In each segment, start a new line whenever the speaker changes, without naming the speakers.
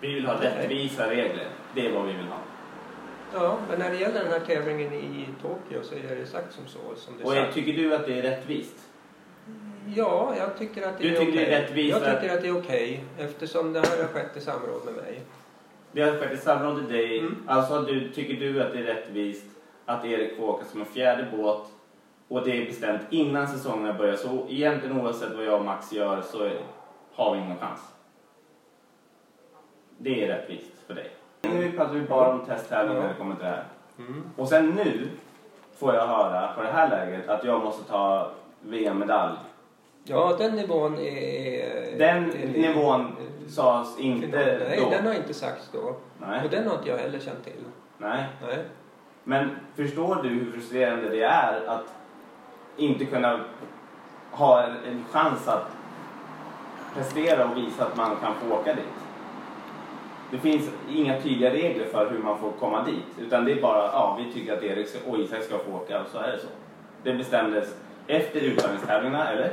Vi vill ha rättvisa regler. Det är vad vi vill ha.
Ja, men när det gäller den här tävlingen i Tokyo så är det sagt som så. Som det
Och
är
eh,
sagt.
tycker du att det är rättvist?
Ja, jag tycker att det
Du
är
tycker det är
okej.
rättvist
Jag
att-
tycker att det är okej eftersom det här har skett i samråd med mig.
Det har skett ett samråd till dig.
Mm.
Alltså du, tycker du att det är rättvist att Erik får åka som en fjärde båt och det är bestämt innan säsongen börjar. Så egentligen oavsett vad jag och Max gör så är- har vi ingen chans. Det är rättvist för dig. Nu pratar vi bara om testtävling när det kommer till det här.
Mm.
Och sen nu får jag höra på det här läget att jag måste ta VM-medalj.
Ja, den nivån är...
Den
är-
nivån sades inte
eh, Nej,
då.
den har inte sagts då.
Nej.
Och den har inte jag heller känt till.
Nej.
Nej.
Men förstår du hur frustrerande det är att inte kunna ha en, en chans att prestera och visa att man kan få åka dit? Det finns inga tydliga regler för hur man får komma dit. Utan det är bara, ja, vi tycker att Erik ska- och Isak ska få åka och så är det så. Det bestämdes efter uttagningstävlingarna, eller?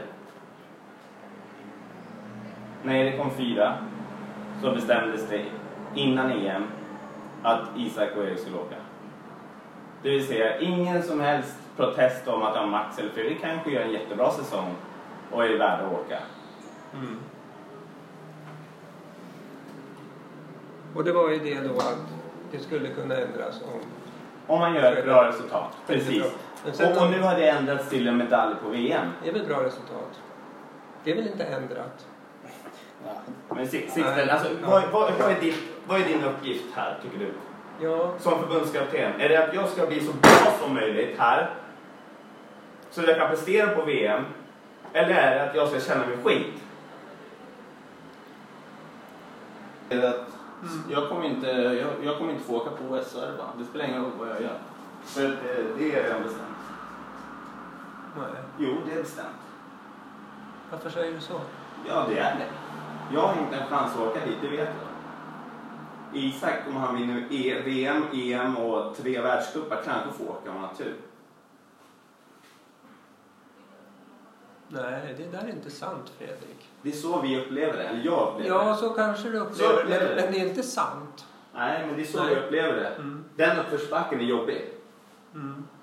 När Erik kom fyra så bestämdes det innan EM att Isak och Erik skulle åka. Det vill säga ingen som helst protest om att ja, Max eller Fredrik kanske gör en jättebra säsong och är värda att åka.
Mm. Och det var ju det då att det skulle kunna ändras om...
Om man gör ett bra resultat. Precis.
Men sen
Och, och nu har det ändrats till en medalj på VM.
Det är väl bra resultat? Det är väl inte ändrat?
Men Si- Sixten, alltså, vad, vad, vad, är ditt, vad är din uppgift här tycker du?
Ja,
Som förbundskapten, är det att jag ska bli så bra som möjligt här? Så att jag kan prestera på VM? Eller är det att jag ska känna mig skit? Jag, kommer inte, jag, jag kommer inte få åka på OS, så är det bara. Det spelar ingen roll vad jag gör. För det, det är redan bestämt.
nej.
Jo, det är bestämt.
Varför säger du så?
Ja, det är det. Jag har inte en chans att åka dit, det vet jag. Isak, om han vinner E- VM, EM och tre världscupar, kanske får åka om han har tur.
Nej, det där är inte sant Fredrik.
Det är så vi upplever det, eller jag upplever
Ja,
det.
så kanske du
Så
upplever
upplever
det,
det.
men det är inte sant.
Nej, men det är så
Nej.
jag upplever det. Den uppförsbacken är jobbig.
Mm.